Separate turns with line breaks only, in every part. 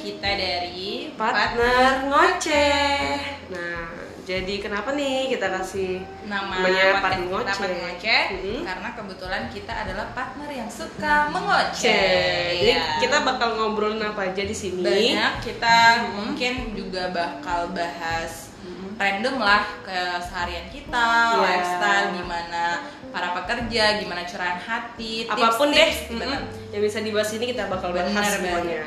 kita dari
partner ngoceh. Nah, jadi kenapa nih kita kasih
nama podcast
Namanya Partner
kita, Partner
Ngoceh.
Ngoceh,
Mhm.
karena kebetulan kita adalah partner yang suka mengoceh.
Ceh. Jadi
Iya.
kita bakal ngobrolin apa aja di sini. Mm-hmm.
banyak kita mungkin juga bakal bahas random lah keseharian kita,
Iya.
lifestyle gimana para pekerja, gimana curahan hati, tips-tips, gitu kan.
Apapun deh
bener.
mm-mm, yang bisa dibahas ini kita bakal bahas
Bener
semuanya.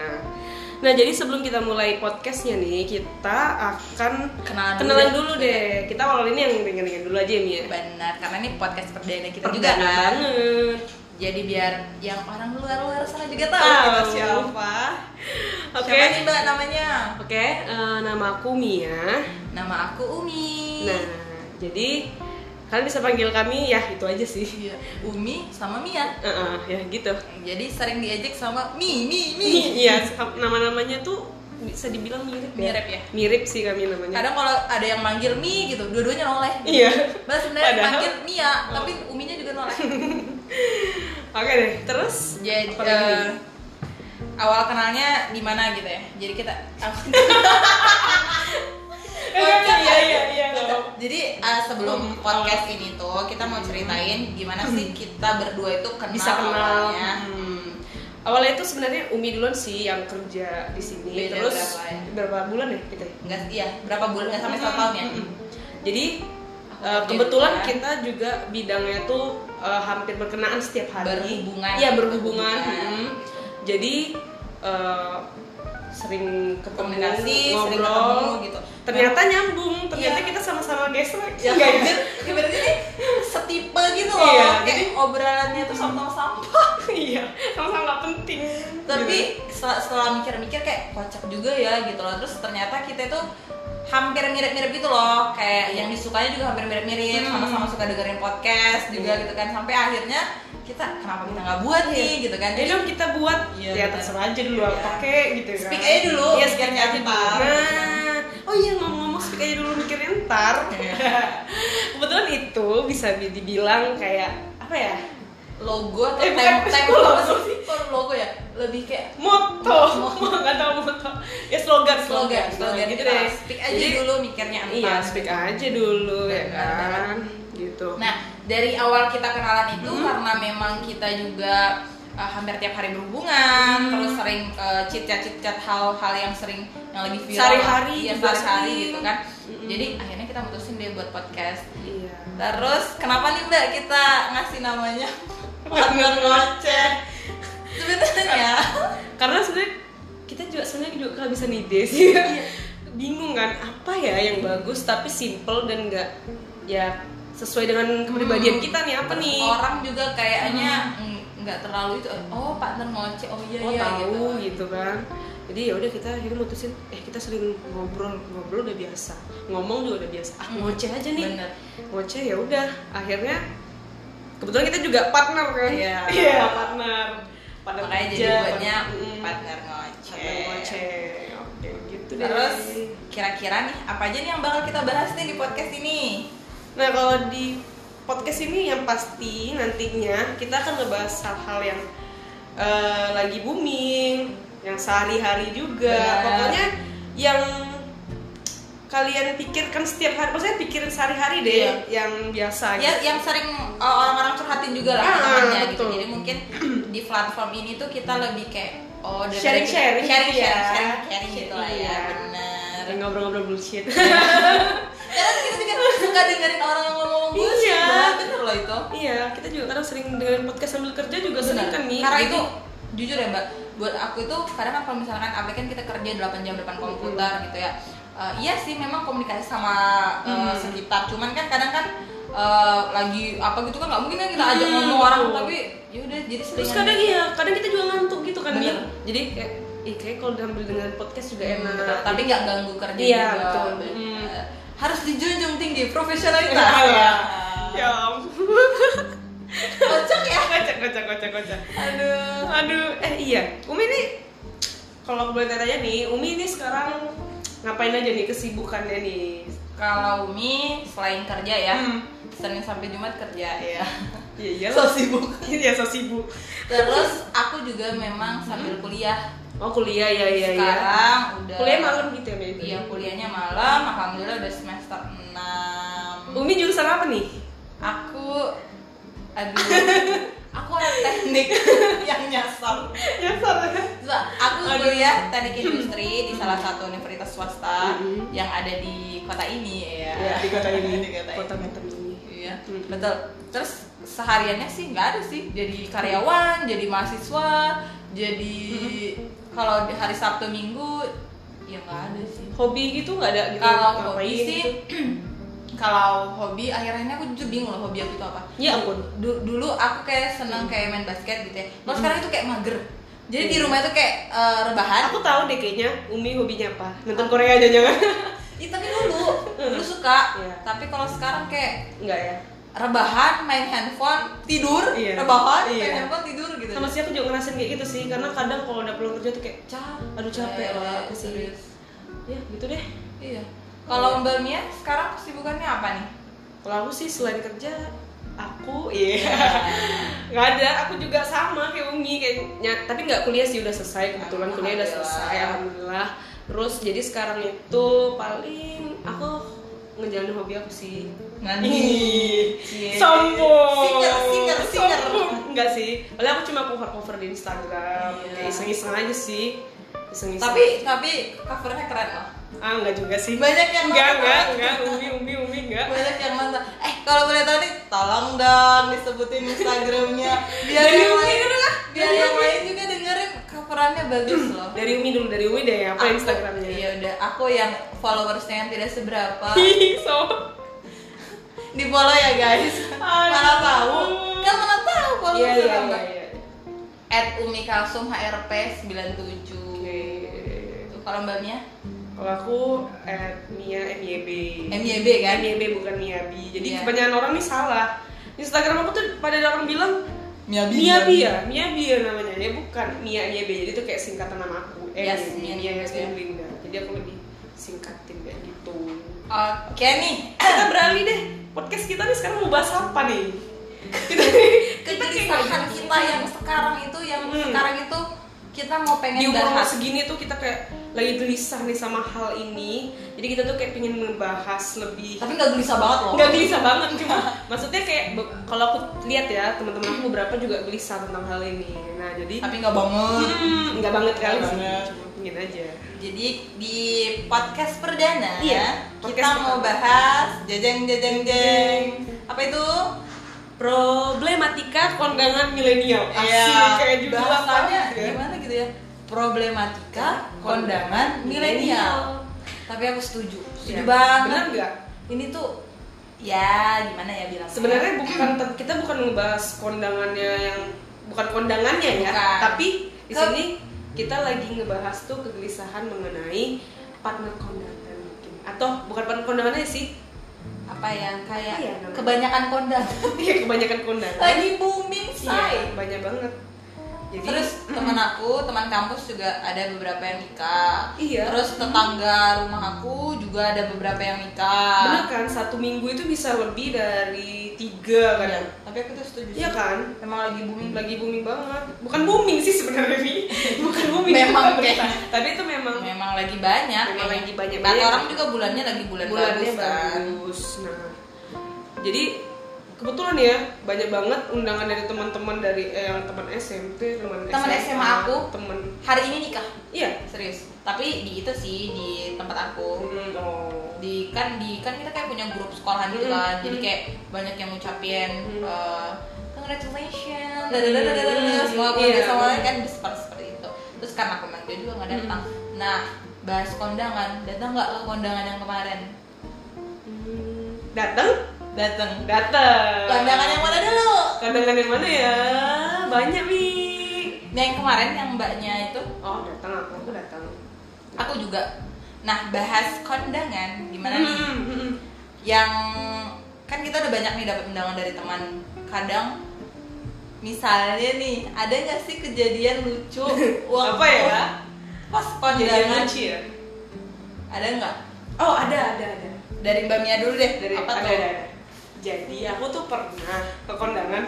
Nah, jadi sebelum kita mulai podcastnya nih, kita akan
Kenalan dulu
kenalan
deh.
dulu deh. Kita awal ini yang ringan-ringan dulu aja Mi, ya.
Benar, karena ini podcast perdana kita juga
Perdana
kan.
banget.
Jadi biar yang orang luar-luar sana juga tahu
Tahu.
kita siapa.
Oke.
Siapa nih Mbak namanya?
Oke, eh, nama aku Mia.
Nama aku Umi.
Nah, jadi kalian bisa panggil kami ya itu aja sih.
Iya, Umi sama Mia.
Eh, eh, ya gitu.
Jadi sering diejek sama Mi, Mi, Mi.
Iya, nama-namanya tuh bisa dibilang mirip ya.
Mirip ya?
Mirip sih kami namanya.
Kadang kalau ada yang manggil Mi gitu, dua-duanya noleh.
Iya.
Bahkan sebenarnya yang
Padahal- Oh.
manggil Mia, tapi Uminya juga noleh.
Oke deh, terus
Jadi
Apa lagi?
eh, awal kenalnya di mana gitu ya? Jadi kita
iya iya iya.
Jadi eh,
Hmm.
sebelum
Oh.
podcast ini tuh kita mau ceritain gimana sih kita berdua itu kenal
Bisa kenal.
awalnya.
Hmm. Awalnya itu sebenarnya Umi duluan sih yang kerja di sini.
Beda
terus
berapa ya?
berapa bulan ya kita? ya?
Enggak iya, berapa bulan enggak sampai satu
Hmm.
tahun ya?
Mm-mm. Jadi
Aku
eh,
kerja
kebetulan
juga.
kita juga bidangnya tuh eh, hampir berkenaan setiap hari.
Berhubungan.
Iya berhubungan.
Berhubungan.
Mm. Jadi eh, sering ketemu,
Komunikasi,
ngobrol.
sering ketemu gitu.
Ternyata nyambung. Ternyata
Iya.
kita sama-sama gesrek.
Ya,
Enggak
hampir, ibaratnya nih setipe gitu loh.
Iya,
Kayak
jadi-
obrolannya tuh sama-sama sampah.
Iya. Sama-sama nggak penting.
Tapi setelah, setelah mikir-mikir kayak kocak juga ya gitu loh. Terus ternyata kita tuh hampir mirip-mirip gitu loh. Kayak yang disukanya juga hampir mirip-mirip,
Hmm.
sama-sama suka dengerin podcast juga
Iya.
gitu kan. Sampai akhirnya kita kenapa kita nggak buat nih gitu kan.
Jadi
Jadi
dong kita buat
Iya,
ya
benar.
terserah aja dulu
Iya.
apa pakai gitu kan.
Speak aja dulu,
Iya,
mikirnya
speak aja dulu.
ntar.
Nah, oh iya ngomong-ngomong speak aja dulu mikirnya ntar. Kebetulan itu bisa bi- dibilang kayak apa ya?
logo atau tem
Eh, bukan,
tem
bukan
apa
logo
sih? Kok logo ya? Lebih kayak
Moto, nggak tahu moto. Ya slogan,
slogan, slogan
gitu
gitu
deh.
Speak aja
Jadi,
dulu mikirnya entar.
Iya, speak aja dulu ya
Benar,
kan. Gitu.
Nah, dari awal kita kenalan itu
Hmm.
karena memang kita juga uh, hampir tiap hari
Hmm.
berhubungan, terus sering uh, chit-chat-chit-chat hal-hal yang sering yang lebih viral
Sehari-hari
Iya,
juga
sehari-hari
sering. Hmm.
gitu kan.
Mm-mm.
Jadi akhirnya kita mutusin deh buat podcast.
Iya.
Terus kenapa nih Mbak kita ngasih namanya Partner Ngoceh? Sebenarnya
Karena sebenarnya kita juga sebenarnya juga kehabisan ide sih.
Iya.
Bingung kan apa ya yang bagus tapi simple dan nggak ya sesuai dengan kepribadian kita nih apa nih?
Hmm. orang juga kayaknya mm, nggak terlalu itu oh partner ngoceh oh iya
Hmm. oh
iya
tahu
gitu.
gitu. kan jadi ya udah kita akhirnya mutusin eh kita sering ngobrol ngobrol udah biasa ngomong juga udah biasa ah
Hmm.
ngoceh aja nih
Bener.
ngoceh ya udah akhirnya kebetulan kita juga partner kan
Iya.
Iya, partner partner
Makanya jadi
kerja,
buatnya
mm,
partner
partner
ngoceh.
ngoceh oke gitu deh
Terus kira-kira nih apa aja nih yang bakal kita bahas nih di podcast ini?
Nah kalau di podcast ini yang pasti nantinya kita akan ngebahas hal-hal yang eh, lagi booming, yang sehari-hari juga.
Benar.
Pokoknya yang kalian pikirkan setiap hari, maksudnya pikirin sehari-hari deh
Iya.
yang biasa. gitu.
Ya yang sering uh, orang-orang curhatin juga lah
Ah,
temannya gitu.
betul.
Jadi mungkin di platform ini tuh kita lebih kayak oh daripada-
Sharing-sharing gitu
sharing
ya.
sharing sharing sharing gitu lah ya
Iya.
bener.
Yang ngobrol-ngobrol bullshit.
Karena kan kita juga suka dengerin orang yang ngomong-ngomong
Iya.
bullshit banget, bener loh itu.
iya, kita juga kadang sering dengerin podcast sambil kerja juga sering
Bener.
kan nih.
Karena itu jujur ya mbak, buat aku itu kadang kan kalau misalkan apa kan kita kerja 8 jam depan komputer gitu ya. Eh, iya sih memang komunikasi sama eh,
Hmm.
sekitar, cuman kan kadang kan eh, lagi apa gitu kan nggak mungkin kan kita ajak
Hmm,
ngomong orang
betul.
tapi yaudah jadi
Terus
selingan.
kadang iya, kadang kita juga ngantuk gitu kan nih.
Bener.
Jadi kayak, ih kayak kalau sambil dengerin podcast juga enak.
Betul, tapi nggak ganggu kerja
Iya,
juga.
betul. Iya,
Bener.
Hmm.
Harus dijunjung tinggi profesionalitas.
ya. Ya ampun.
Kocak ya.
kocak kocak kocak kocak
Aduh.
aduh eh iya Umi ini kalau boleh tanya nih Umi ini sekarang ngapain aja nih kesibukannya nih
Kalau Umi selain kerja ya,
Hmm.
Senin sampai Jumat kerja ya.
iya iya
So sibuk.
iya so sibuk
Terus aku juga memang sambil kuliah
oh kuliah ya ya ya
sekarang udah
kuliah malam gitu ya Mei?
iya kuliahnya malam alhamdulillah udah semester 6
Umi jurusan apa nih
aku aduh aku ada teknik yang nyasar
ya salah
So, aku
Aduh.
kuliah teknik industri di salah satu universitas swasta
Mhm.
yang ada di kota ini ya.
ya di kota ini
Di kota ini.
kota Batam ini
Iya,
Mhm.
betul. Terus sehariannya sih nggak ada sih. Jadi karyawan, jadi mahasiswa, jadi
Mm-hmm.
kalau di hari Sabtu Minggu ya nggak ada sih.
hobi gitu nggak ada gitu
Kalau hobi
ngapain
sih,
gitu?
kalau hobi akhirnya aku jujur bingung loh hobi aku tuh apa.
ya ampun Mm-hmm.
Du- dulu aku kayak seneng kayak main basket gitu ya. Kalau sekarang itu kayak mager. Jadi di
Iya.
rumah itu kayak eh, rebahan.
aku tahu deh kayaknya Umi hobinya
Ah.
apa nonton Korea aja jangan
Ih, tapi dulu, dulu suka.
Iya.
Tapi kalau sekarang kayak
nggak ya
rebahan, main handphone, tidur,
Iya.
rebahan, main
Iya.
handphone, tidur gitu.
sama sih aku juga ngerasain kayak gitu sih karena kadang kalau udah pulang kerja tuh kayak
capek.
aduh capek lah aku sih
iya, serius.
ya gitu deh
Iya. Kalau Mbak Mia sekarang kesibukannya apa nih?
kalau aku sih selain kerja aku iya nggak ada aku juga sama kayak Umi kayaknya tapi nggak kuliah sih udah selesai kebetulan kuliah udah selesai alhamdulillah terus jadi sekarang itu paling aku ngejalanin hobi aku sih Ih,
Cie.
sombong
Singer, singer, singer.
Sombong. enggak sih Padahal aku cuma cover cover di Instagram
Iya.
kayak iseng iseng aja sih iseng iseng
Tapi tapi covernya keren loh.
ah nggak juga sih
Banyak yang
enggak
nonton.
enggak enggak Umi Umi Umi enggak
banyak yang nonton eh kalau boleh tahu nih tolong dong disebutin instagramnya biar
Dari
yang
Umi
lain
dulu lah,
biar
dari
yang
Umi.
lain juga dengerin coverannya bagus loh
dari Umi dulu dari Umi deh apa
Aku-
Instagramnya Iya.
iya udah aku yang followersnya yang tidak seberapa
Ih, so
di follow ya guys mana
Aduh.
tahu kan mana tahu follow
Iya iya
berapa
iya.
at umi kalsum hrp 97
Oke.
Tuh, kalau mbak Mia
Kalau aku at Mia MYB.
MYB, kan?
MYB bukan Miabi. Jadi
Iya.
kebanyakan orang nih salah. Instagram aku tuh pada ada orang bilang
Mia
Miabi ya, Miabi ya namanya. Ya bukan Mia MYB. Jadi itu kayak singkatan nama aku. Eh,
Yes, Mia
Mia Mia
MYB.
Yasmin Linda. Jadi aku lebih singkatin kayak gitu.
oke nih
Kita beralih deh. Podcast kita nih sekarang mau bahas apa nih? Kita kita kayak nggak
kegelisahan
jelas.
kita yang sekarang itu yang
Hmm.
sekarang itu kita mau
di
pengen
umur
bahas
segini tuh kita kayak lagi gelisah nih sama hal ini jadi kita tuh kayak pengen membahas lebih
tapi nggak gelisah banget loh
nggak gelisah banget cuma maksudnya kayak be- kalau aku lihat ya teman-teman aku beberapa juga gelisah tentang hal ini nah jadi
tapi nggak banget
hmm, nggak banget kali
Nggak
sih
banget.
cuma pengen aja
jadi di podcast perdana
Iya,
kita
podcast
mau
pertama.
bahas jajang jajang jeng apa itu
problematika kondangan milenial
Iya,
kayak judul
bahasanya
apa gitu ya.
gimana gitu ya problematika kondangan milenial tapi aku setuju setuju
Iya.
banget
benar nggak
ini tuh ya gimana ya bilang
sebenarnya bukan te- kita bukan ngebahas kondangannya yang bukan kondangannya ya
Bukan.
tapi di
Ke-
sini kita lagi ngebahas tuh kegelisahan mengenai partner kondangan mungkin atau bukan partner kondangannya sih
apa ya kayak
Apa ya namanya?
kebanyakan kondangan
ya kebanyakan kondangan
lagi booming say
iya banyak banget jadi
Terus teman aku, teman kampus juga ada beberapa yang nikah.
Iya.
Terus tetangga rumah aku juga ada beberapa yang
bener
nikah.
kan satu minggu itu bisa lebih dari
Iya.
tiga kadang
Tapi aku tuh setuju.
iya
sih.
kan
Emang lagi booming lagi.
lagi booming banget bukan booming sih sebenarnya Mi. bukan booming
Memang, Iya,
bukan berita.
memang.
tapi itu memang
Memang lagi banyak.
Memang
kayaknya.
lagi banyak.
Kata
Iya.
orang juga bulannya lagi bulan
bulannya
bagus kan.
bagus. Nah, jadi kebetulan ya banyak banget undangan dari teman-teman dari eh, yang teman SMP, teman
Teman SMA aku.
teman
Hari ini nikah. eh,
iya.
Serius. Tapi di itu sih di tempat aku.
Hmm, oh.
Di kan di kan kita kayak punya grup sekolahan gitu
Mm-mm.
kan. Jadi
Mm.
kayak banyak yang ngucapin
Mm.
eh, congratulations.
Mm.
dadadadadadada, Semua keluarga
Iya.
sama lain kan seperti seperti itu. Terus karena kemarin dia juga
Hmm.
nggak datang. Nah, bahas kondangan, datang nggak ke kondangan yang kemarin?
Hmm, datang,
Datang.
datang.
Kondangan yang mana dulu?
Kondangan yang mana ya? Banyak Mi.
Yang kemarin yang mbaknya itu
Oh, datang aku, aku datang.
aku juga. Nah, bahas kondangan gimana nih?
Hmm, hmm, hmm.
yang kan kita udah banyak nih dapat undangan dari teman kadang misalnya nih ada nggak sih kejadian lucu waktu
Apa ya?
pas
Jadi
kondangan
lucu ya?
ada nggak
Oh, ada, ada, ada.
dari mbak Mia dulu deh
dari
apa tuh
ada, ada, ada. Jadi aku tuh pernah ke kondangan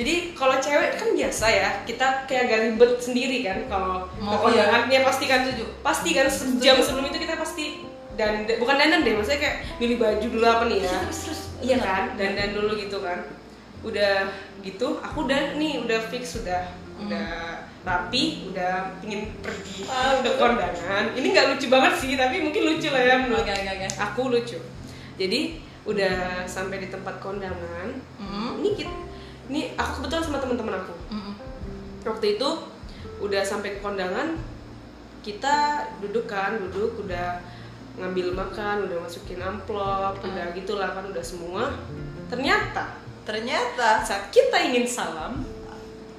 Jadi kalau cewek kan biasa ya, kita kayak agak ribet sendiri kan kalau
Mau,
mau
iya.
kondangannya pasti kan setuju. Pasti kan sejam sebelum itu kita pasti dan bukan dandan deh, maksudnya kayak milih baju dulu apa nih ya.
Terus terus.
Iya kan, dandan dulu gitu kan. Udah gitu, aku udah nih udah fix udah udah
Hmm.
rapi, udah pingin pergi ke kondangan. Ini nggak lucu banget sih, tapi mungkin lucu lah ya menurut
Oke oke oke.
aku lucu. Jadi udah sampai di tempat kondangan,
Hmm.
ini kita, ini aku kebetulan sama teman-teman aku.
Mm-mm.
Waktu itu udah sampai ke kondangan, kita duduk kan, duduk udah ngambil makan, udah masukin amplop, udah gitulah kan udah semua. Ternyata
Ternyata ah,
saat kita ingin salam,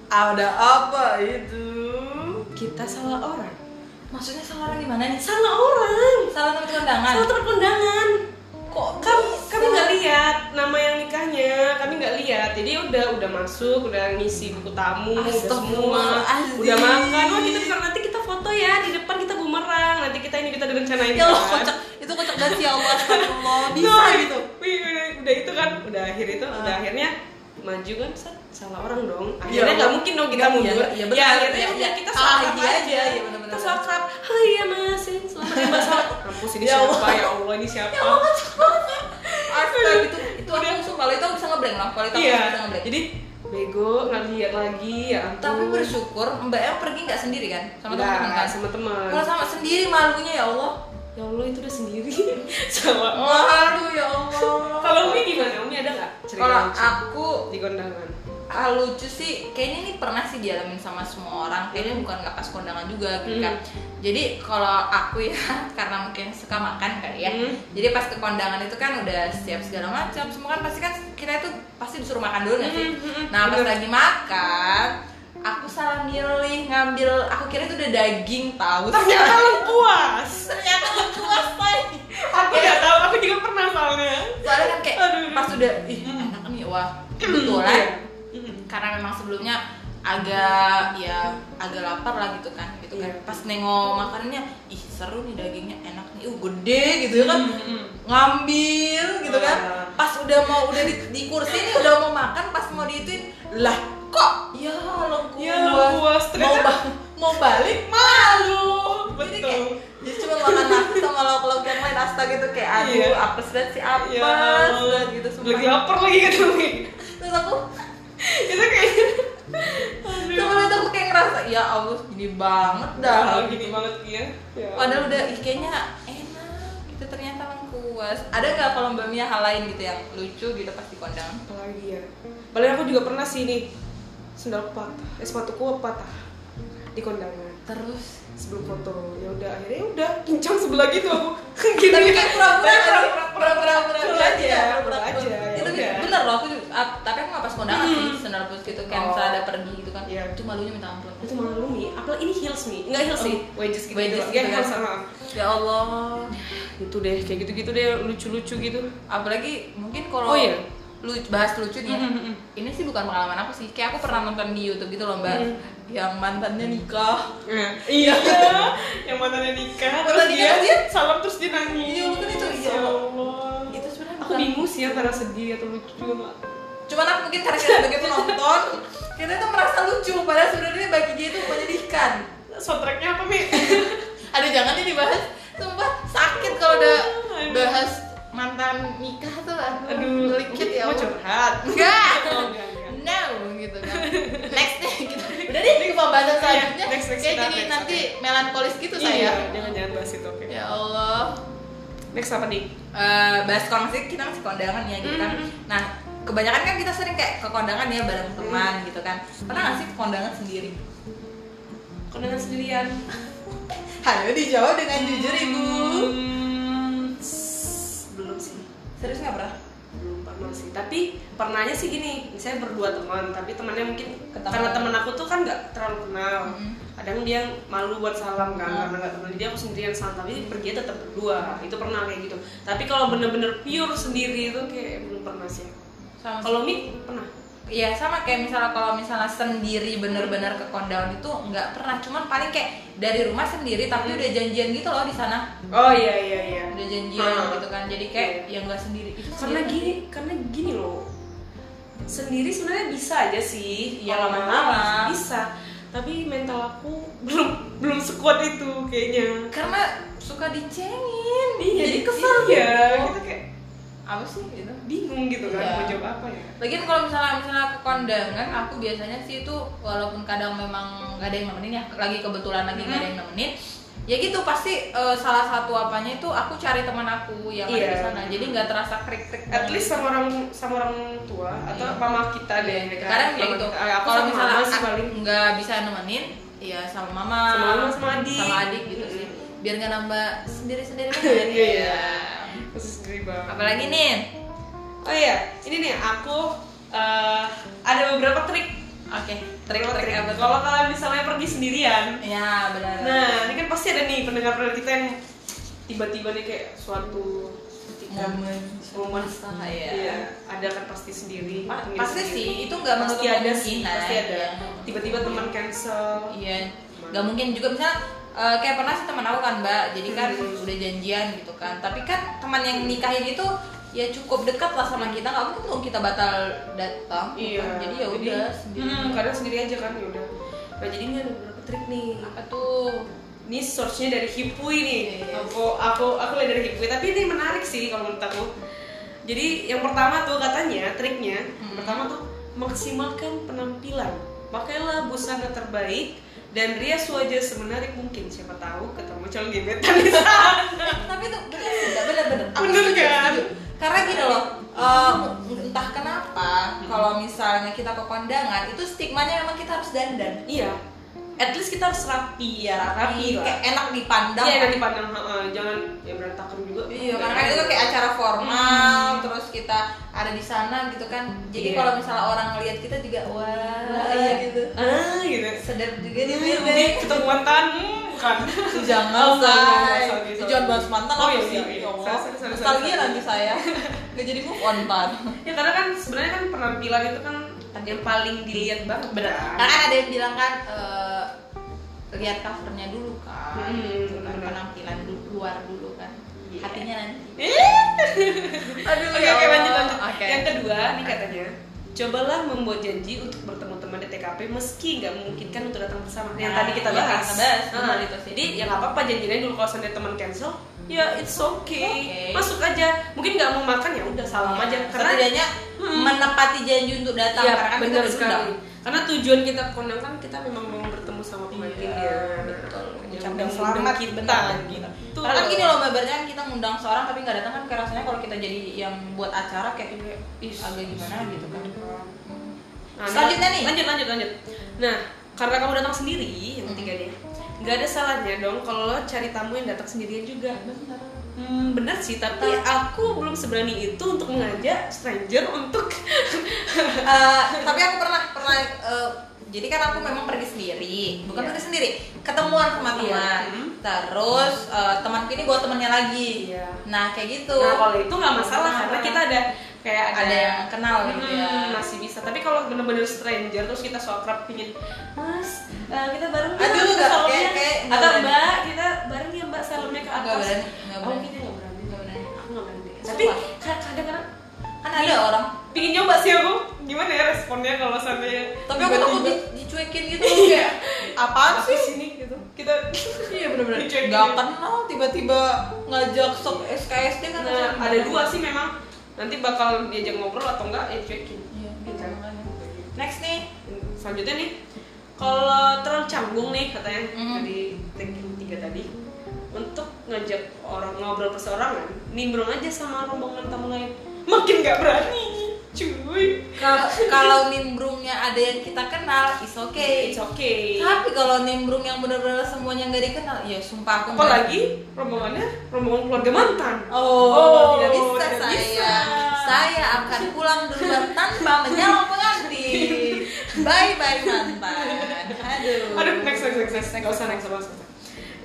ada apa itu?
kita salah orang.
Maksudnya salah orang gimana nih?
Salah orang.
Salah tempat kondangan.
Salah tempat kondangan.
Kok
Kami kami nggak lihat nama yang nikahnya, kami nggak lihat. Jadi udah udah masuk, udah ngisi buku tamu, udah semua,
Astagfirullahaladzim.
udah makan. Wah kita bisa nanti kita foto ya di depan kita bumerang. Nanti kita ini kita direncanain.
Ya Allah
kan.
kocak, itu kocak banget sih ya Allah, Allah bisa
Nah,
gitu. Ah.
wih, wih, wih, udah itu kan, udah akhir itu, udah akhirnya maju kan, set, salah orang dong. Akhirnya
Iya,
nggak mungkin dong kita
nggak, iya,
mundur. Ya,
iya, benar,
akhirnya
iya,
udah
iya.
kita
Kalah
salah
dia aja, iya, benar,
Kita
benar.
salah kerap. Hai ya mas, ya, selamat ya mas. Selamat. Kampus ini
Ya
siapa
Allah.
ya Allah ini siapa?
Astaga itu itu aku sumpah kalau itu aku bisa ngeblank lah, kalau itu aku
Iya.
bisa ngeblank.
Jadi bego nggak lihat lagi ya ampun.
Tapi bersyukur Mbak El pergi nggak sendiri kan sama
Nggak,
teman-teman kan?
sama teman.
Kalau sama sendiri malunya ya Allah.
Ya Allah itu udah sendiri sama.
Malu ya Allah.
Kalau Umi gimana? Umi ada nggak cerita
Kalau
lucu
aku
di kondangan?
ah, lucu sih, kayaknya ini pernah sih dialamin sama semua orang. Kayaknya
Hmm.
bukan nggak pas kondangan juga, gitu kan. Jadi kalau aku ya, karena mungkin suka makan kali ya.
Hmm.
Jadi pas ke kondangan itu kan udah siap segala macam. Semua kan pasti kan kita itu pasti disuruh makan dulu nggak sih.
Hmm, hmm, hmm.
Nah pas
Bener.
lagi makan, aku salah milih ngambil. Aku kira itu udah daging tahu.
Ternyata lu puas.
ternyata kuas lagi.
aku nggak tahu aku juga pernah soalnya
soalnya kan kayak
Aduh. Hmm. iya.
pas udah ih enak nih wah kan?" kebetulan karena memang sebelumnya agak ya agak lapar lah gitu kan gitu kan
Iya.
pas nengok makanannya ih seru nih dagingnya enak nih uh gede gitu ya kan
Mm-mm.
ngambil gitu kan
Ah.
pas udah mau udah di, di kursi nih udah mau makan pas mau diituin lah kok ya lo
Ya, puas.
mau
Ternyata-
ba- mau balik malu jadi
betul.
kayak jadi cuma makan nasi sama lauk lauk yang lain astaga gitu kayak aduh
Iya.
apes banget sih apes
Iya.
banget gitu sumpah
lagi lapar lagi gitu nih
terus aku
itu kayak
cuma itu aku kayak ngerasa ya allah gini banget dah
Aduh, gini banget ya, ya.
padahal udah ih, kayaknya enak gitu ternyata lengkuas ada nggak kalau mbak Mia hal lain gitu yang lucu gitu pas di kondang
apalagi ya paling aku juga pernah sih nih sendal patah eh sepatuku patah di kondangan
terus
sebelum foto ya udah akhirnya ya udah pincang sebelah gitu aku gitu
tapi kan pura-pura
Tapi
kan?
pura-pura-
pura-pura
pura-pura aja
pura-pura
pura aja ya
itu
udah. Hmm.
bener loh aku juga- ah, tapi aku nggak pas kondangan sih sendal putus gitu kayak
Oh.
misalnya ada pergi gitu kan
Iya.
itu malunya minta ampun
itu malah lu nih apalagi ini heels nih nggak heels sih wedges gitu
Wedges
doang.
gitu
ya
kan.
heels sama
ya allah
gitu deh kayak gitu gitu deh lucu lucu gitu
apalagi mungkin kalau
Oh, iya.
lu bahas lucu nih ya.
Mhm.
ini sih bukan pengalaman aku sih kayak aku pernah nonton di YouTube gitu loh mbak
Mhm.
yang mantannya nikah
iya yang mantannya nikah terus
Mantan nikah,
dia,
dia-
salam terus dia nangis
Iya, bukan itu, iya.
ya Allah
Itu sebenarnya
aku
bukan-
bingung sih antara sedih atau lucu juga nggak.
cuman aku mungkin karena kita sebagai penonton kita tuh merasa lucu padahal sebenarnya bagi dia itu menyedihkan
soundtracknya apa mi
ada jangan ini dibahas sumpah sakit kalau udah
Oh, Aduh.
bahas mantan nikah tuh aduh
aduh
likit ya
mau
Allah.
curhat
enggak
Oh, enggak, enggak.
no gitu kan next deh kita udah deh ke pembahasan
Iya,
selanjutnya
next, next,
kayak
kita
jadi
next,
nanti melankolis gitu
iya
saya
jangan jangan bahas itu oke
ya Allah
next apa nih
Eh, bahas kondangan sih kita masih kondangan ya gitu kan
Mm-hmm.
nah kebanyakan kan kita sering kayak ke kondangan ya bareng teman gitu kan pernah nggak sih ke kondangan sendiri
kondangan sendirian
Halo dijawab dengan
Mm-hmm.
jujur ibu
Hmm, s- belum sih
Serius nggak pernah?
belum pernah sih tapi pernahnya sih gini misalnya berdua teman tapi temannya mungkin
Ketemu.
karena teman aku tuh kan nggak terlalu kenal
Mhm.
kadang dia malu buat salam kan
Hmm.
karena nggak teman dia aku sendirian salam tapi pergi tetap berdua itu pernah kayak gitu tapi kalau bener-bener pure sendiri itu kayak belum pernah sih
Sama sih.
kalau mi pernah
Iya sama kayak misalnya kalau misalnya sendiri bener-bener ke kondangan itu nggak pernah cuman paling kayak dari rumah sendiri
Mm-hmm.
tapi udah janjian gitu loh di sana
oh iya iya iya
udah janjian
Hmm.
Iya. gitu kan jadi kayak yang nggak ya sendiri itu
karena
sendiri.
gini karena gini loh sendiri sebenarnya bisa aja sih
Iya,
kalau
lama-lama.
lama-lama bisa tapi mental aku belum belum sekuat itu kayaknya
karena suka dicengin jadi
di-
kesel
iya,
gitu.
kita kayak
apa sih gitu
bingung gitu kan
Iya.
mau jawab apa ya
Lagian kalau misalnya misalnya ke kondangan, aku biasanya sih itu walaupun kadang memang gak ada yang nemenin ya, lagi kebetulan lagi gak ada yang nemenin, ya gitu pasti eh, salah satu apanya itu aku cari teman aku yang ada di
Iya.
sana, jadi nggak terasa krik krik.
at least sama orang sama orang tua atau
Iya.
mama kita deh mereka.
Kadang ya
Mama
gitu.
kita. Ah, aku
Kalau
sama
misalnya
mama sih paling
nggak bisa nemenin, ya sama mama,
Sama mama, sama adik.
sama adik gitu sih,
Mm-mm.
biar nggak nambah sendiri sendiri.
Iya, iya. khusus diri banget.
Apalagi nih,
oh iya ini nih aku eh, ada beberapa trik
oke, trik trik apa tuh?
kalau kalian misalnya pergi sendirian
Ya benar.
nah ini kan pasti ada nih pendengar-pendengar kita yang tiba-tiba nih kayak suatu ketika
Momen.
momen
Saya.
Iya, ada kan pasti sendiri.
Pa-
sendiri
pasti
sendiri.
sih itu nggak menutup
gitu, pasti ada sih,
kemungkinan
pasti ada.
Iya.
Tiba-tiba teman cancel.
iya nggak mungkin juga misalnya eh, kayak pernah sih teman aku kan mbak jadi kan
Hmm.
udah janjian gitu kan tapi kan teman yang nikahin itu ya cukup dekat lah sama kita nggak mungkin dong kita batal datang
Iya.
kan? jadi ya udah sendiri
Hmm, kadang sendiri aja kan ya udah. Nah, jadi ini ada beberapa trik nih.
apa tuh
Ini source-nya dari Hipui nih.
Iya.
Aku aku aku lihat dari Hipui, tapi ini menarik sih kalau menurut aku. Jadi yang pertama tuh katanya triknya,
Hmm.
yang pertama tuh maksimalkan penampilan. Pakailah busana terbaik dan rias wajah semenarik mungkin. Siapa tahu ketemu calon gebetan di sana.
tapi itu bener bener bener bener
Bener kan?
karena gini loh eh, entah kenapa
Hmm.
kalau misalnya kita ke kondangan itu stigmanya memang kita harus dandan
Iya.
at least kita harus rapi ya
Rapi
rapi,
lah.
kayak enak dipandang kan.
Iya nanti pandang heeh, jangan ya berantakan juga.
Iya, karena itu kayak acara formal, terus kita ada di sana gitu kan. Jadi
Hmm. Iya.
kalau misalnya orang ngelihat kita juga wah,
Wah, iya.
gitu.
ah gitu. Iya,
Sedap juga
Ini
nih
ini
bebek.
ketemu mantan hmm, bukan.
Jangan
sorry,
say.
sorry,
Itu
sorry.
jangan bahas mantan
Oh,
apa
iya,
sih?
iya, iya.
Ya Allah.
Sorry, sorry, sorry,
Nostalgia
sorry.
nanti saya. Gak jadi move on pan.
Ya karena kan sebenarnya kan penampilan itu kan yang paling dilihat banget.
Karena kan ada yang bilang kan eh, lihat covernya dulu kan,
Hmm,
gitu kan.
bener.
penampilan du- luar dulu kan,
Iya.
hatinya nanti.
Aduh,
ya
oke, Oh, iya, oke,
Allah.
lanjut lanjut.
Oke.
Yang kedua nih katanya, cobalah membuat janji untuk bertemu teman di TKP meski nggak memungkinkan untuk datang bersama. yang
Nah,
tadi kita
yang
bahas.
kita bahas,
Nah,
benar itu sih.
Jadi ya nggak apa-apa janjinya dulu kalau seandainya teman cancel, ya it's okay.
Okay.
Masuk aja. Mungkin nggak mau makan ya udah salam aja. Karena
Iya.
Hmm.
setidaknya menepati janji untuk datang
Iya,
karena kan kita
benar
diundang.
sekali. Karena tujuan kita ke kondangan kan kita memang mau bertemu sama pengantinnya.
Iya, betul.
Iya, Yang
Ucapkan
undang
selamat
kita
benar.
gitu.
Karena kan gini loh, Mbak, berarti kan kita ngundang seorang tapi nggak datang kan kayak rasanya kalau kita jadi yang buat acara kayak ih agak gimana gitu kan.
Nah,
Selanjutnya
nah,
nih.
Lanjut lanjut lanjut. Nah, karena kamu datang sendiri yang ketiga
Hmm.
nih. Nggak ada salahnya dong kalau lo cari tamu yang datang sendirian juga. Hmm, benar sih, tapi
Iya.
aku belum seberani itu untuk mengajak stranger untuk
Eh, tapi aku pernah pernah eh, jadi kan aku memang pergi sendiri, bukan
Iya.
pergi sendiri, ketemuan sama teman.
Iya, mhm.
Terus eh, temanku ini bawa temannya lagi.
Iya.
Nah kayak gitu.
Nah, kalau itu nggak masalah karena kita ada kayak ada, Hmm,
Ada yang kenal gitu ya.
masih bisa. Tapi kalau bener-bener stranger terus kita so akrab pingin, Mas, eh, kita bareng nggak
Aduh,
ke
nggak,
salonnya?"
kayak- kayak nggak
atau
berani.
Mbak, kita bareng ya Mbak salonnya ke atas.
Nggak berani, nggak
Oh,
berani.
kita nggak berani.
Nggak berani.
Aku nggak berani.
Sumpah.
Tapi ka- kadang-kadang
kan ada orang
pingin nyoba sih aku. Gimana ya responnya kalau seandainya
tapi aku takut
tiba-tiba,
di- dicuekin gitu loh, kayak apaan
"Apa
sih
sini gitu. Kita
iya bener-bener
Dicuekin.
nggak kenal tiba-tiba ngajak sok SKSD kan
Nah,
rasanya
ada
gimana?
dua sih memang nanti bakal diajak ngobrol atau enggak ya cuekin.
Iya,
Gitu.
jangan. next nih
selanjutnya nih kalau terlalu canggung nih katanya
Mhm.
dari tag yang tiga tadi untuk ngajak orang ngobrol perseorangan nimbrung aja sama rombongan tamu lain makin nggak berani cuy
Ka- kalau nimbrungnya ada yang kita kenal is okay
it's okay
tapi kalau nimbrung yang bener-bener semuanya nggak dikenal ya sumpah aku nggak-
apalagi rombongannya rombongan keluarga mantan
Oh,
Oh,
tidak bisa
tidak
saya.
bisa.
Saya akan pulang duluan tanpa menyalon pengantin. Bye bye mantan. Aduh.
Aduh, next, next, next, next, next, Nggak usah, next, nggak usah, nggak usah.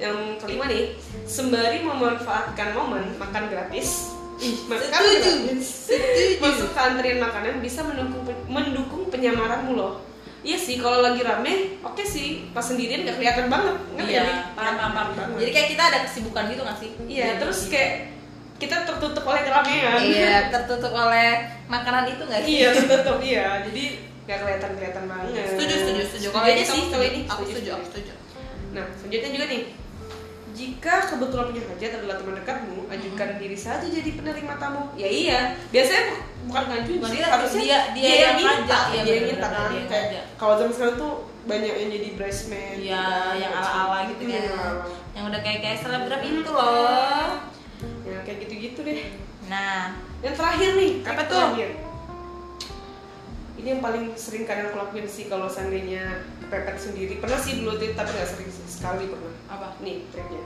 Yang kelima nih, sembari memanfaatkan momen makan gratis. Ih, makan
Setuju.
gratis. Masuk ke antrian makanan bisa mendukung mendukung penyamaranmu loh. Iya sih, kalau lagi rame, oke sih. Pas sendirian nggak kelihatan banget, nggak
Iya,
kelihatan
paham, paham, paham. Jadi kayak kita ada kesibukan gitu nggak sih?
Iya, terus kayak kita tertutup oleh keramaian
iya tertutup oleh makanan itu nggak sih
iya tertutup iya jadi nggak kelihatan kelihatan banget
setuju setuju setuju kalau
kalau
ini
aja sih
kamu
kalau ini
aku setuju aku setuju
nah selanjutnya juga nih jika kebetulan punya hajat adalah teman dekatmu ajukan diri saja jadi penerima tamu ya iya biasanya bu- bukan ngajuin
Bukan
sih
dia,
harusnya
dia- dia yang ngajak, iya,
dia yang
bener-bener,
minta kan
dia yang
kayak
ngajak.
kalau zaman sekarang tuh banyak yang jadi bridesmaid gitu
iya yang ala ala gitu kan
Iya.
yang udah kayak kayak selebgram itu loh
ya kayak gitu-gitu deh
nah
yang terakhir nih
Apa
yang
tuh?
terakhir. ini yang paling sering kalian aku lakuin sih kalau seandainya kepepet sendiri pernah sih dulu tuh, tapi nggak sering sih sekali pernah
apa
nih triknya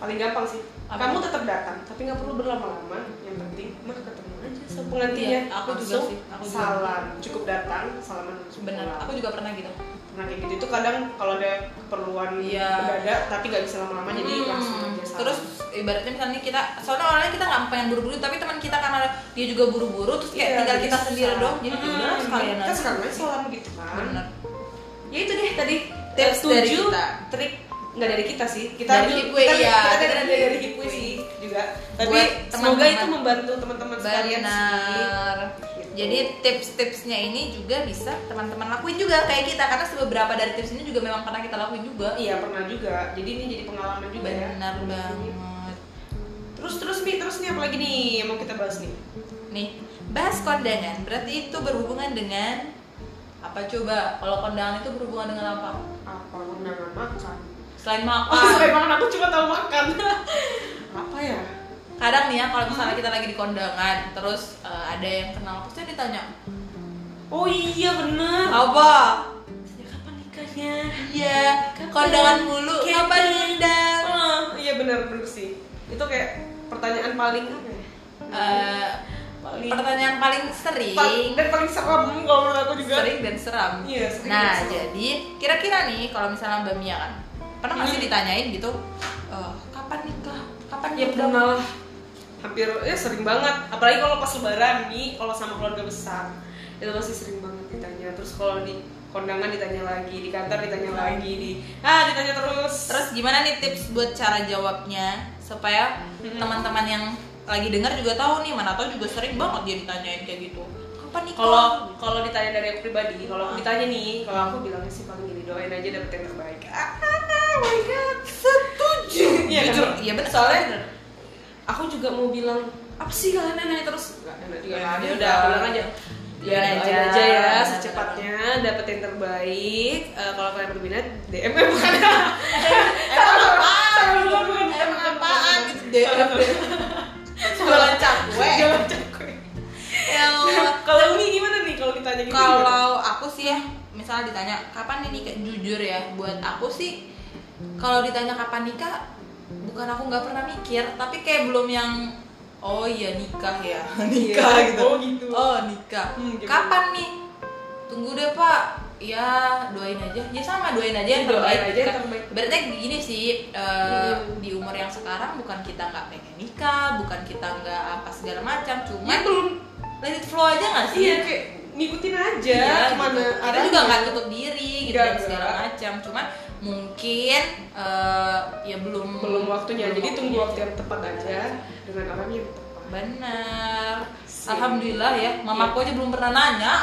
paling gampang sih
Apa?
kamu tetap datang tapi nggak perlu berlama-lama yang penting mah ketemu aja sama pengantinnya
Iya, aku juga
Langsung
sih, aku juga.
salam cukup datang salaman langsung
bener
pulang.
aku juga pernah gitu
nah kayak gitu itu kadang kalau ada keperluan
Iya.
mendadak tapi nggak bisa lama-lama jadi
Hmm,
langsung aja salam
terus ibaratnya misalnya nih kita soalnya awalnya kita nggak pengen buru-buru tapi teman kita karena dia juga buru-buru terus kayak
Iya,
tinggal
jadi
kita sendiri
salam.
dong jadi
Mm-mm.
udah sekalian
kita
aja
sekalian aja salam gitu kan
bener
ya itu deh tadi
Tips dari
tujuh
kita.
trik nggak dari kita sih kita
Dari
ambil-
Hipwi,
kita,
iya,
kita
dari
dari, dari, dari
Hipwi.
Hipwi sih juga tapi
Buat
semoga
teman-teman.
itu membantu teman-teman sekalian sih
benar
Gitu.
jadi tips-tipsnya ini juga bisa teman-teman lakuin juga kayak kita karena beberapa dari tips ini juga memang pernah kita lakuin juga
iya pernah juga jadi ini jadi pengalaman juga ya
benar banget
terus terus nih terus nih apalagi nih yang mau kita bahas nih
nih bahas kondangan berarti itu berhubungan dengan apa coba kalau kondangan itu berhubungan dengan apa
apa undangan makan
selain
oh sampai
makan
makan aku cuma tahu makan apa ya
kadang nih ya kalau misalnya kita lagi di kondangan terus eh, ada yang kenal terus dia ditanya
oh iya bener
apa
sejak kapan nikahnya
iya kondangan mulu
Kapan?
kapan ngundang
Ah, iya benar benar sih itu kayak pertanyaan paling apa ya?
Eh,
Paling-
pertanyaan paling sering
Paling- dan paling seram kalau menurut aku juga
sering dan seram
Iya, sering
nah
dan seram.
jadi kira-kira nih kalau misalnya mbak Mia kan pernah nggak sih
Hmm.
ditanyain gitu eh, kapan nikah kapan
ya
ngundang?"
pernah lah. hampir ya sering banget apalagi kalau pas lebaran nih kalau sama keluarga besar itu pasti sering banget ditanya terus kalau di kondangan ditanya lagi di kantor ditanya lagi di ah ditanya terus
Terus gimana nih tips buat cara jawabnya supaya
Hmm.
teman-teman yang lagi dengar juga tahu nih mana tahu juga sering banget dia ditanyain kayak gitu. Kapan nikah?
kalau kalau ditanya dari aku pribadi kalau aku ditanya nih kalau aku bilangnya sih paling gini doain aja dapet yang terbaik ah oh my god setuju Iya kan?
jujur, iya benar
soalnya aku juga mau bilang apa sih kalian nanya terus nggak enak juga
Ya,
ya,
juga.
udah bilang aja ya
Bilang
aja,
aja.
aja ya secepatnya dapet yang terbaik Eh, kalau kalian berminat DM eh, bukan Salah, bukan, bukan.
Emang apaan gitu
Salah,
DM
bukan.
jualan cakwe.
Jualan cakwe.
Ya Allah.
kalau Umi gimana nih kalau ditanya gitu
Kalau aku sih ya, misalnya ditanya kapan nih nikah, jujur ya, buat aku sih kalau ditanya kapan nikah, bukan aku nggak pernah mikir, tapi kayak belum yang oh iya nikah ya, nikah
Iya,
gitu.
oh gitu.
Oh nikah.
Hmm, gitu.
Kapan nih? Tunggu deh pak. Ya doain aja. Ya sama doain aja yang
Iya, Doain
terbaik.
aja yang terbaik. Iya.
Berarti gini sih eh, di umur yang sekarang bukan kita nggak pengen nikah, bukan kita nggak apa segala macam,
Ya,
cuman
belum
let it flow aja nggak sih?
iya kayak ngikutin aja
Iya,
kemana
gitu. kita
arahnya.
juga nggak tutup diri gitu
Nggak,
dan segala
nggak.
macam cuman mungkin eh, ya belum
belum waktunya jadi tunggu waktu yang tepat aja
Benar.
dengan orang yang tepat
benar
Sih.
alhamdulillah ya mamaku
Iya.
aja belum pernah nanya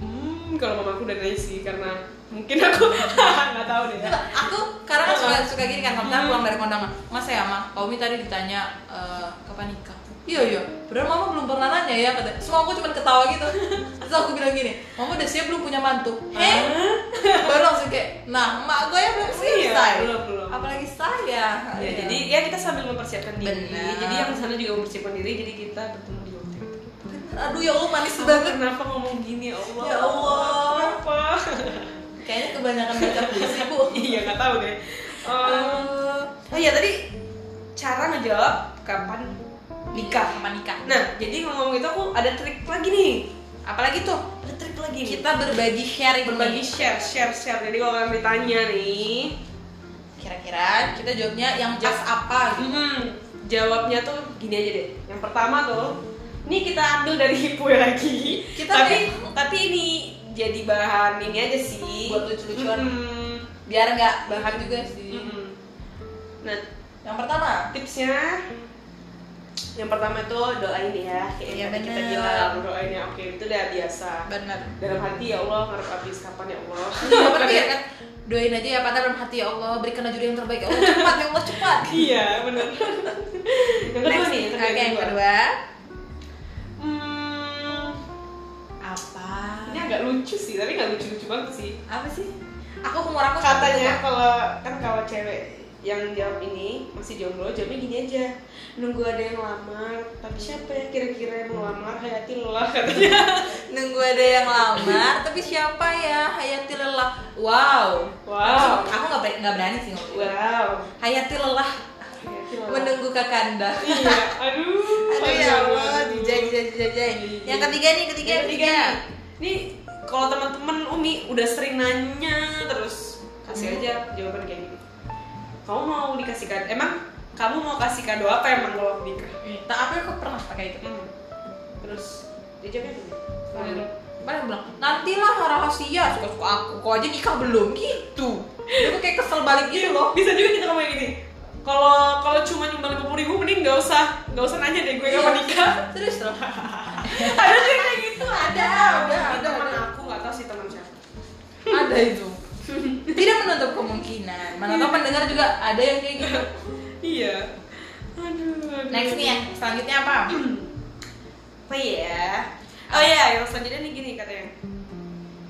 hmm kalau mama aku udah nanya sih karena mungkin aku nggak tahu deh ya.
aku karena kan suka suka gini kan kalau misalnya
Hmm.
pulang dari kondangan mas ya ma Kaumi tadi ditanya eh, kapan nikah iya iya benar mama belum pernah nanya ya kata semua aku cuma ketawa gitu terus aku bilang gini mama udah siap belum punya mantu heh
Hah?
baru langsung kayak nah emak gue ya belum
Iya,
selesai
belum, belum.
apalagi saya Iya.
Ya, jadi ya kita sambil mempersiapkan diri
Benar.
jadi yang di sana juga mempersiapkan diri jadi kita bertemu di waktu yang tepat
aduh ya allah manis
Aku
banget
kenapa ngomong gini ya Allah
Ya Allah.
kenapa
kayaknya kebanyakan baca puisi bu
iya nggak tahu deh Eh,
Eh,
oh iya tadi cara ngejawab kapan nikah
kapan nikah
Nah, jadi ngomong itu aku ada trik lagi nih.
apalagi tuh
Ada trik lagi nih.
kita berbagi sharing
berbagi share, share, share. Jadi kalau kalian ditanya nih,
kira-kira kita jawabnya yang jas apa gitu
hmm, jawabnya tuh gini aja deh. Yang pertama tuh, ini kita ambil dari hipo lagi.
Kita
tapi tapi ini jadi bahan ini aja sih. Mm-hmm.
Buat lucu-lucuan.
Mm-mm.
biar nggak bahan juga sih
Mm-mm. Mm-hmm. Nah,
yang pertama
tipsnya yang pertama itu doain ya kayak
Iya,
yang tadi kita
bener.
bilang doain ya oke itu udah biasa
bener
dalam hati ya Allah ngarep habis kapan ya Allah
Iya, bener ya kan doain aja ya patah dalam hati ya Allah berikan juri yang terbaik ya Allah cepat ya Allah cepat
iya benar yang kedua
Next,
nih
oke
terkait
yang
kedua.
kedua
Hmm,
apa
ini agak lucu sih tapi nggak lucu lucu banget sih
apa sih aku umur aku
katanya kalau kan kalau cewek yang jawab ini masih jomblo jawabnya gini aja nunggu ada yang lamar tapi siapa ya kira-kira yang melamar hayati lo lah katanya
nunggu ada yang lamar tapi siapa ya Hayati lelah wow
Wow.
aku nggak ber- nggak berani sih ngomong itu.
wow
Hayati lelah
hayati lo lah.
menunggu kakanda
iya aduh
aduh ya Allah
aduh.
jijai jijai jijai yang ketiga nih ketiga
Yang ketiga ini kalau teman-teman Umi udah sering nanya terus
Hmm.
kasih aja jawaban kayak gini kamu mau dikasih kado emang kamu mau kasih kado apa emang kalau nikah
tak apa aku pernah pakai itu
Hmm. terus dia jawabnya gini
Mana bilang, nantilah rahasia suka-suka aku, kok aja nikah belum gitu Dia tuh kayak kesel balik gitu loh
bisa juga kita ngomong gini kalau kalau cuma nyumbang lima puluh ribu mending nggak usah nggak usah nanya deh
Iya.
gue kapan nikah
Serius loh
ada sih kayak gitu ada
Ada,
ada
ada,
teman
ada.
aku nggak tahu sih teman siapa
Ada itu Tidak menutup kemungkinan, mana tau pendengar juga ada yang kayak gitu
iya aduh, aduh
Next nih ya, selanjutnya apa?
apa ya oh ya yang selanjutnya nih gini katanya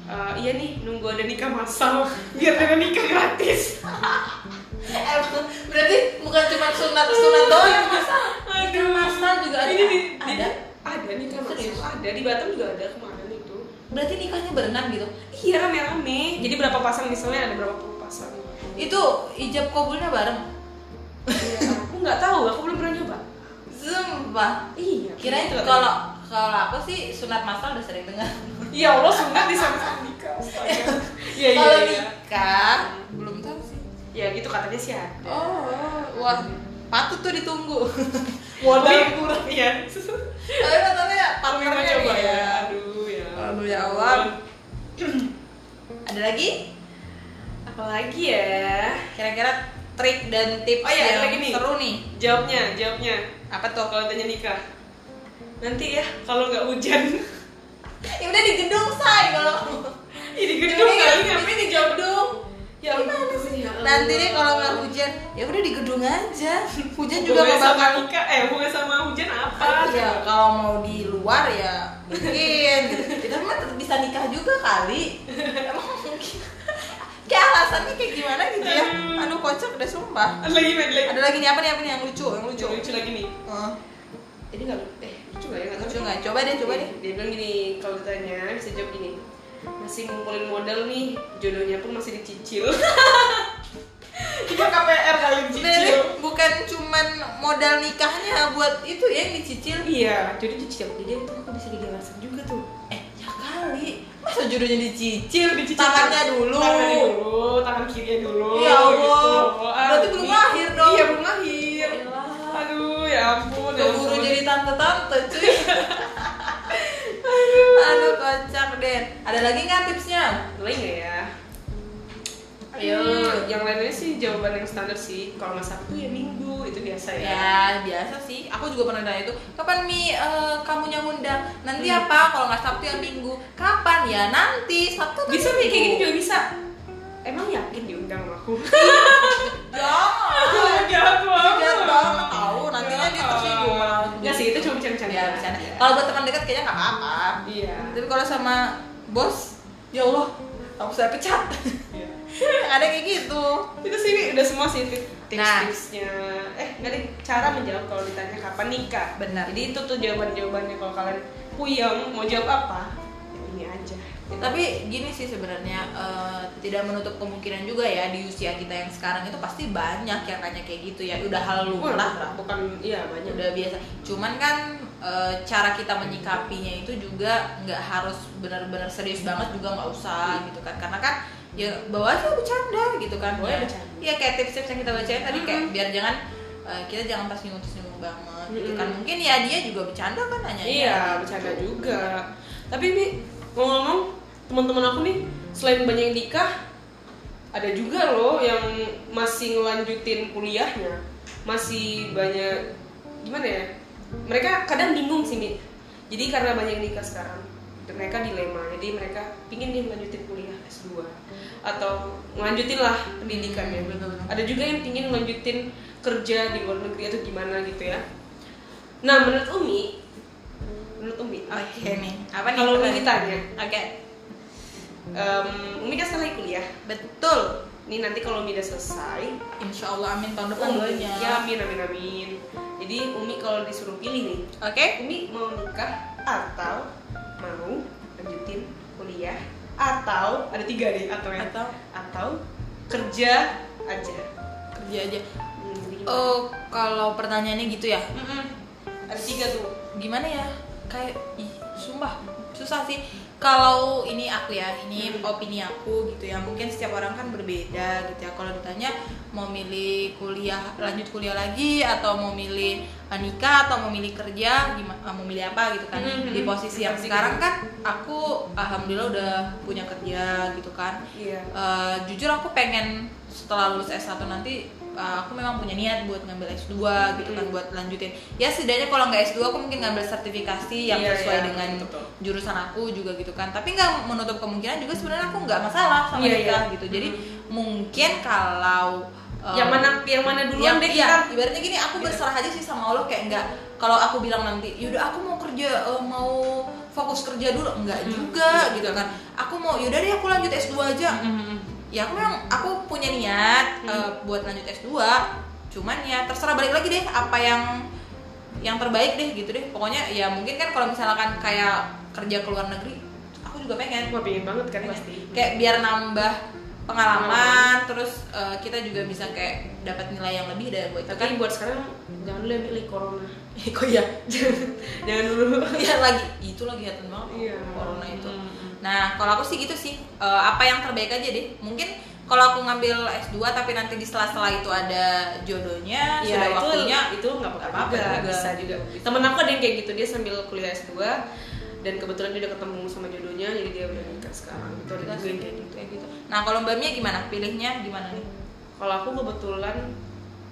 Eh, iya nih nunggu ada nikah masal biar ada nikah gratis
Eh, Berarti bukan cuma sunat-sunat doang yang masalah Nikah masal juga ada
ini di, di,
Ada
ada nikah
Serius?
masal ada di Batam juga ada kemarin itu
Berarti nikahnya berenang gitu
iya rame-rame jadi berapa pasang misalnya ada berapa puluh pasang
Itu ijab kabulnya bareng
Iya, aku nggak tahu aku belum pernah nyoba
Sumpah
iya
Kirain
gitu.
kalau kalau aku sih sunat masal udah sering dengar
ya Allah sunat di sana sama nikah astaga. iya iya
Kalau
iya
nikah belum tahu sih.
ya gitu katanya sih ada
Oh, wah patut tuh ditunggu. Oh,
modal
iya.
kurang ya
Tapi katanya
Pamer
partnernya
coba
nih
ya. Aduh ya.
Aduh, ya Allah. Ada lagi?
Apalagi ya?
Kira-kira trik dan tips
Oh, iya, ada
yang
lagi nih.
seru nih.
Jawabnya, jawabnya.
Apa
Tuh kalau tanya nikah. Nanti ya kalau nggak hujan.
Ya udah di gedung say kalau.
Ini di gedung
Ini
kali
di-
ngapain di jawab dong. Ya ampun, ya Allah.
Nanti deh kalau nggak hujan, ya udah di gedung aja. Hujan juga
Hubungannya
nggak
sama
bakal.
nikah, eh hubungannya sama hujan apa?
Ya kalau mau di luar ya mungkin. Kita mah tetap bisa nikah juga kali. Emang mungkin. Kayak alasannya kayak gimana gitu ya?
Hmm.
Aduh kocak udah sumpah.
Ada lagi, ada lagi.
Ada lagi nih apa nih apa nih yang lucu yang lucu.
Yang lucu lagi nih.
Heeh.
Ini nggak lucu, eh lucu nggak ya? Nggak
lucu
tahu.
nggak? Coba deh coba deh.
Dia bilang gini, kalau ditanya bisa jawab gini. Masih ngumpulin modal nih, jodohnya pun masih dicicil. Jika KPR kali
Sebenarnya bukan cuman modal nikahnya buat itu ya yang dicicil.
Iya, jadi dicicil. Jadi itu aku bisa digawasan juga tuh.
Eh ya kali. Masa jodohnya dicicil?
Dicicil.
Tangannya dulu.
Tangan dulu, tangan kirinya dulu.
Ya Allah. Berarti
Ah,
belum
ini-
lahir dong.
Iya, belum lahir.
Elah.
Aduh, ya ampun. ya
Keburu
ampun.
jadi tante-tante cuy. Aduh kocak Den. Ada lagi nggak tipsnya?
lain nggak ya?
Ayo.
Hmm, yang lainnya sih jawaban yang standar sih. Kalau nggak Sabtu ya Minggu, itu biasa ya.
Ya biasa sih. Aku juga pernah nanya itu. Kapan mi eh, kamu yang undang? Nanti
Hmm.
apa? Kalau nggak Sabtu ya Minggu. Kapan ya? Nanti Sabtu. atau
Bisa nih, kayak gitu. gini
Minggu?
juga bisa. Emang yakin diundang sama aku?
Jangan.
Jahat
Jangan banget tahu. Nantinya dia tersinggung. malah.
Nggak sih, itu cuma bercanda.
Ya, bercanda. Kalau buat teman dekat kayaknya nggak apa-apa.
Iya.
Tapi kalau sama bos, ya Allah, aku saya pecat.
Iya.
Yang ada kayak gitu.
itu sih Wi, udah semua sih tip-
Nah.
tips-tipsnya eh nggak deh cara menjawab kalau ditanya kapan nikah
Benar.
jadi itu tuh jawaban jawabannya kalau kalian puyeng mau jawab apa ya ini aja
tapi gini sih sebenarnya eh, tidak menutup kemungkinan juga ya di usia kita yang sekarang itu pasti banyak yang nanya kayak gitu ya udah hal lumrah lah
bukan iya banyak
udah biasa cuman kan eh, cara kita menyikapinya itu juga nggak harus benar-benar serius banget juga nggak usah gitu kan karena kan ya bawa aja bercanda gitu kan
Boleh
ya,
bercanda.
Iya, kayak tips-tips yang kita bacain tadi kayak
Mm-mm.
biar jangan eh, kita jangan pas nyinggung nyinggung banget gitu
Mm-mm.
kan mungkin ya dia juga bercanda kan nanya
iya bercanda juga tapi ini ngomong-ngomong teman-teman aku nih selain banyak yang nikah ada juga loh yang masih ngelanjutin kuliahnya masih banyak gimana ya mereka kadang bingung sih Mi. jadi karena banyak yang nikah sekarang dan mereka dilema jadi mereka pingin nih lanjutin kuliah S2 atau lanjutin lah pendidikannya
Betul-betul.
ada juga yang pingin lanjutin kerja di luar negeri atau gimana gitu ya nah menurut Umi menurut Umi ah,
Oke nih. Apa nih?
kalau Umi
pertanyaan?
ditanya
Oke.
em, Umi kan setelah kuliah
Betul.
ini nanti kalau Umi udah selesai
Insya Allah amin tahun depan
Umi-
doanya.
ya amin amin amin jadi Umi kalau disuruh pilih nih eh,
Oke.
Umi mau nikah atau mau lanjutin kuliah atau ada tiga nih atau ya
Atau
atau kerja aja
kerja aja.
Hmm, jadi gimana?
Oh, kalau pertanyaannya gitu ya.
Mm-mm. ada tiga tuh
Gimana ya? Kayak ih, sumpah susah sih. Kalau ini aku ya, ini
Hmm.
opini aku gitu ya. Mungkin setiap orang kan berbeda gitu ya. Kalau ditanya mau milih kuliah, lanjut kuliah lagi atau mau milih eh, nikah atau mau milih kerja, gimana mau milih apa gitu kan.
Hmm, hmm,
Di
hmm.
posisi yang
Pasti
sekarang
gitu.
kan aku alhamdulillah udah punya kerja gitu kan.
iya
Uh, jujur aku pengen setelah lulus S1 nanti uh, aku memang punya niat buat ngambil S2 gitu kan
Hmm.
buat lanjutin. Ya setidaknya kalau nggak S2 aku mungkin ngambil sertifikasi yang
Iya,
sesuai
iya,
dengan
betul.
jurusan aku juga gitu kan. Tapi nggak menutup kemungkinan juga sebenarnya aku nggak masalah sama
Iya,
nikah
iya.
gitu. Jadi mungkin kalau uh,
yang mana yang mana duluan
yang
deh
iya,
kita
ibaratnya gini aku
Iya.
berserah aja sih sama Allah kayak enggak kalau aku bilang nanti yaudah aku mau kerja eh, mau fokus kerja dulu enggak
Hmm.
juga gitu kan aku mau yaudah deh aku lanjut S2 aja
Mm-mm.
ya aku memang aku punya niat
Hmm.
eh, buat lanjut S2 cuman ya terserah balik lagi deh apa yang yang terbaik deh gitu deh pokoknya ya mungkin kan kalau misalkan kayak kerja ke luar negeri aku juga pengen
Wah, pengen banget kan
Pengen.
pasti Hmm.
kayak biar nambah pengalaman terus eh, kita juga bisa kayak dapat nilai yang lebih dari buat itu kan
tapi buat sekarang jangan dulu yang milih corona
kok ya
jangan jangan dulu
ya lagi itu lagi kelihatan banget
Iya.
corona itu
Mm-mm.
Nah, kalau aku sih gitu sih. Eh, apa yang terbaik aja deh. Mungkin kalau aku ngambil S2 tapi nanti di sela-sela itu ada jodohnya,
ya,
sudah
itu,
waktunya.
itu nggak apa-apa
Iya, Nggak apa-apa
juga,
juga.
bisa juga temen aku ada yang kayak gitu dia sambil kuliah S2 dan kebetulan dia udah ketemu sama jodohnya jadi dia udah nikah sekarang itu
Kita
ada juga
sih kayak
yang kayak
gitu,
gitu
kayak gitu. Nah, kalau Mbak Mia gimana? Pilihnya gimana nih?
kalau aku kebetulan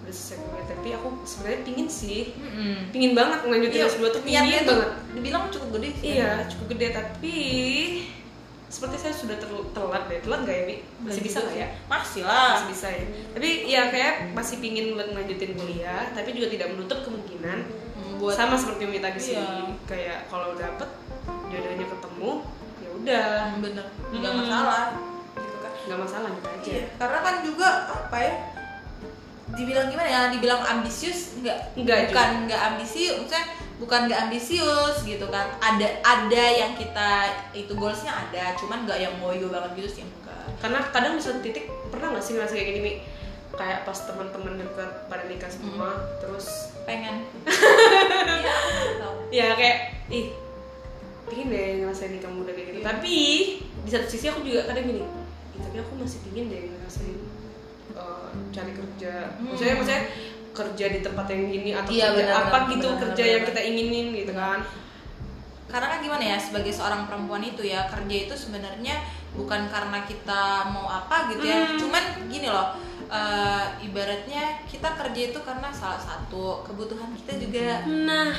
udah selesai kuliah tapi aku sebenarnya pingin sih
Mm-mm.
pingin banget ngelanjutin
Iya,
S2 tuh pingin
niatnya tuh
banget
dibilang cukup gede sih.
iya cukup gede tapi seperti saya sudah tel- telat deh telat gak ya Mi? masih bisa nggak ya
Masih lah.
masih bisa ya tapi ya kayak masih pingin lanjutin kuliah tapi juga tidak menutup kemungkinan
Hmm, Buat
sama seperti Mita di sini
Iya.
kayak kalau dapet jodohnya ketemu ya udah
Hmm, bener, nggak
Mm.
masalah gitu kan.
nggak masalah gitu aja
Iya, karena kan juga apa ya? Dibilang gimana ya? Dibilang ambisius nggak?
Nggak
bukan nggak ambisius, maksudnya bukan nggak ambisius gitu kan? Ada ada yang kita itu goalsnya ada, cuman nggak yang ngoyo banget gitu sih enggak.
karena kadang di suatu titik pernah nggak sih ngerasa kayak gini Mi? kayak pas teman-teman dekat pada nikah semua
Mm-hmm.
terus
Pengen. Iya, aku tahu.
ya kayak ih pingin deh ngerasain nikah muda kayak gitu
Iya.
tapi di satu sisi aku juga kadang gini "Ih, tapi aku masih pingin deh ngerasain eh, cari kerja
Hmm.
maksudnya maksudnya kerja di tempat yang gini atau
Iya,
kerja
benar,
apa
benar,
gitu
benar,
kerja
benar.
yang kita inginin gitu kan
karena kan gimana ya sebagai seorang perempuan itu ya kerja itu sebenarnya bukan karena kita mau apa gitu ya
Hmm.
cuman gini loh eh, ibaratnya kita kerja itu karena salah satu kebutuhan kita juga
Nah,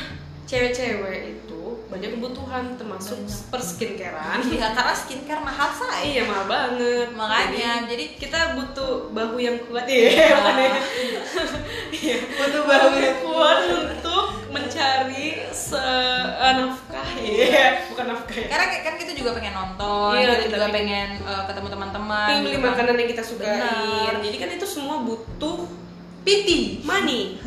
cewek-cewek itu banyak kebutuhan termasuk
Banyak.
per skincarean.
ya karena skincare mahal say
Iya mahal banget.
makanya jadi
Jadi, kita butuh bahu yang kuat ya. bukan ya? Iya.
butuh
bahu yang kuat untuk mencari se eh, nafkah ya. Bukan nafkah ya.
karena kayak- kan kita juga pengen nonton
Iya,
kita
kita
juga
pengen-
pengen eh, ketemu teman-teman
Pengen beli
gitu kan.
makanan yang kita sukain.
Benar.
Jadi kan itu semua butuh
piti
money.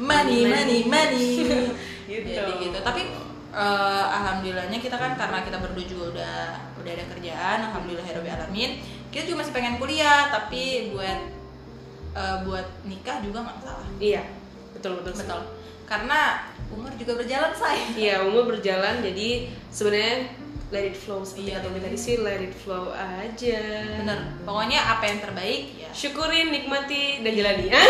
money money money
Gitu.
jadi gitu tapi eh, alhamdulillahnya kita kan karena kita berdua juga udah udah ada kerjaan alhamdulillah Herobi alamin kita juga masih pengen kuliah tapi buat eh, buat nikah juga nggak masalah
Iya. Betul betul.
betul karena umur juga berjalan say
Iya, umur berjalan jadi sebenarnya let it flow seperti
Iya,
kata
bener.
tadi sih let it flow aja.
bener pokoknya apa yang terbaik ya
Syukurin, nikmati dan jalani. Ah,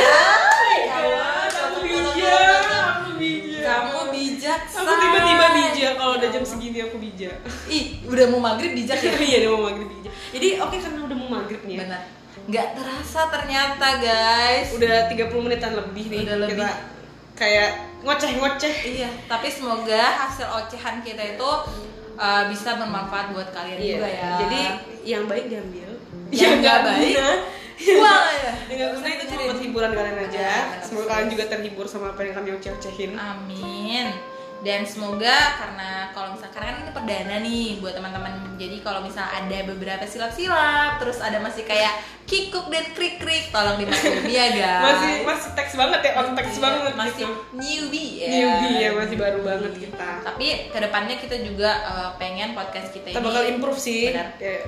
ya Allah,
kamu
kamu
bijak,
bijak.
aku bijak.
kamu bijak
Aku tiba-tiba
Say.
bijak kalau udah
Ya
jam
Allah.
segini aku bijak.
ih udah mau maghrib bijak ya
Iya, udah mau maghrib bijak. Jadi oke karena udah mau maghrib nih. Ya.
bener nggak terasa ternyata guys
Udah 30 menitan lebih nih
Udah lebih.
kita kayak ngoceh-ngoceh
Iya, tapi semoga hasil ocehan kita itu uh, bisa bermanfaat buat kalian juga ya.
Iya. Jadi yang baik diambil, Iya,
Yang
yang
nggak
nggak
baik,
baik.
wah.
Dengan guna itu cuma buat hiburan kalian aja.
Iya,
Semoga kalian juga terhibur sama apa yang kami oceh-ocehin.
Amin. Dan semoga karena kalau misalnya karena kan ini perdana nih buat teman-teman. Jadi kalau misalnya ada beberapa silap-silap, terus ada masih kayak kikuk dan krik-krik, tolong dimaklumi ya guys.
Masih masih teks banget ya, on teks
Iya,
banget
masih
gitu.
newbie ya.
Newbie ya, masih baru banget kita.
Tapi kedepannya kita juga eh, pengen podcast kita
Kita
ini
bakal improve sih. Ya,
Benar.
Kayak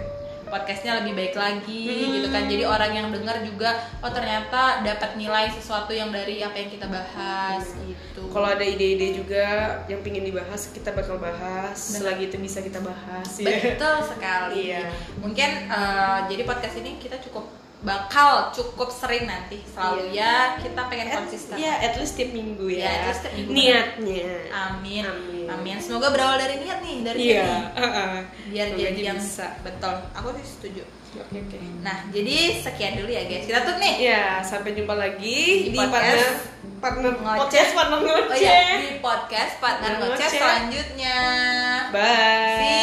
podcastnya lebih baik lagi
Mm-hmm.
gitu kan jadi orang yang dengar juga oh ternyata dapat nilai sesuatu yang dari apa yang kita bahas gitu
Kalau ada ide-ide juga yang pingin dibahas, kita bakal bahas. Selagi itu bisa kita bahas. ya.
betul sekali
Iya.
mungkin eh, jadi podcast ini kita cukup bakal cukup sering nanti selalu
Iya.
ya kita pengen
At-
konsisten
Ya, at least tiap minggu
Ya, at
ya.
least tiap minggu.
Niatnya.
amin.
Amin.
amin semoga berawal dari niat nih dari
Iya.
niat
heeh.
nih. biar
Semoga
jadi
aja
yang
bisa.
betul aku sih setuju
Oke, oke.
nah jadi sekian dulu ya guys kita tutup nih
Ya, sampai jumpa lagi
Di
di,
podcast.
partner partner
Ngoceh. iya.
podcast partner ngoceh.
Oh iya, di podcast partner
Partner
ngoceh
Ngoceh.
selanjutnya.
Bye.
See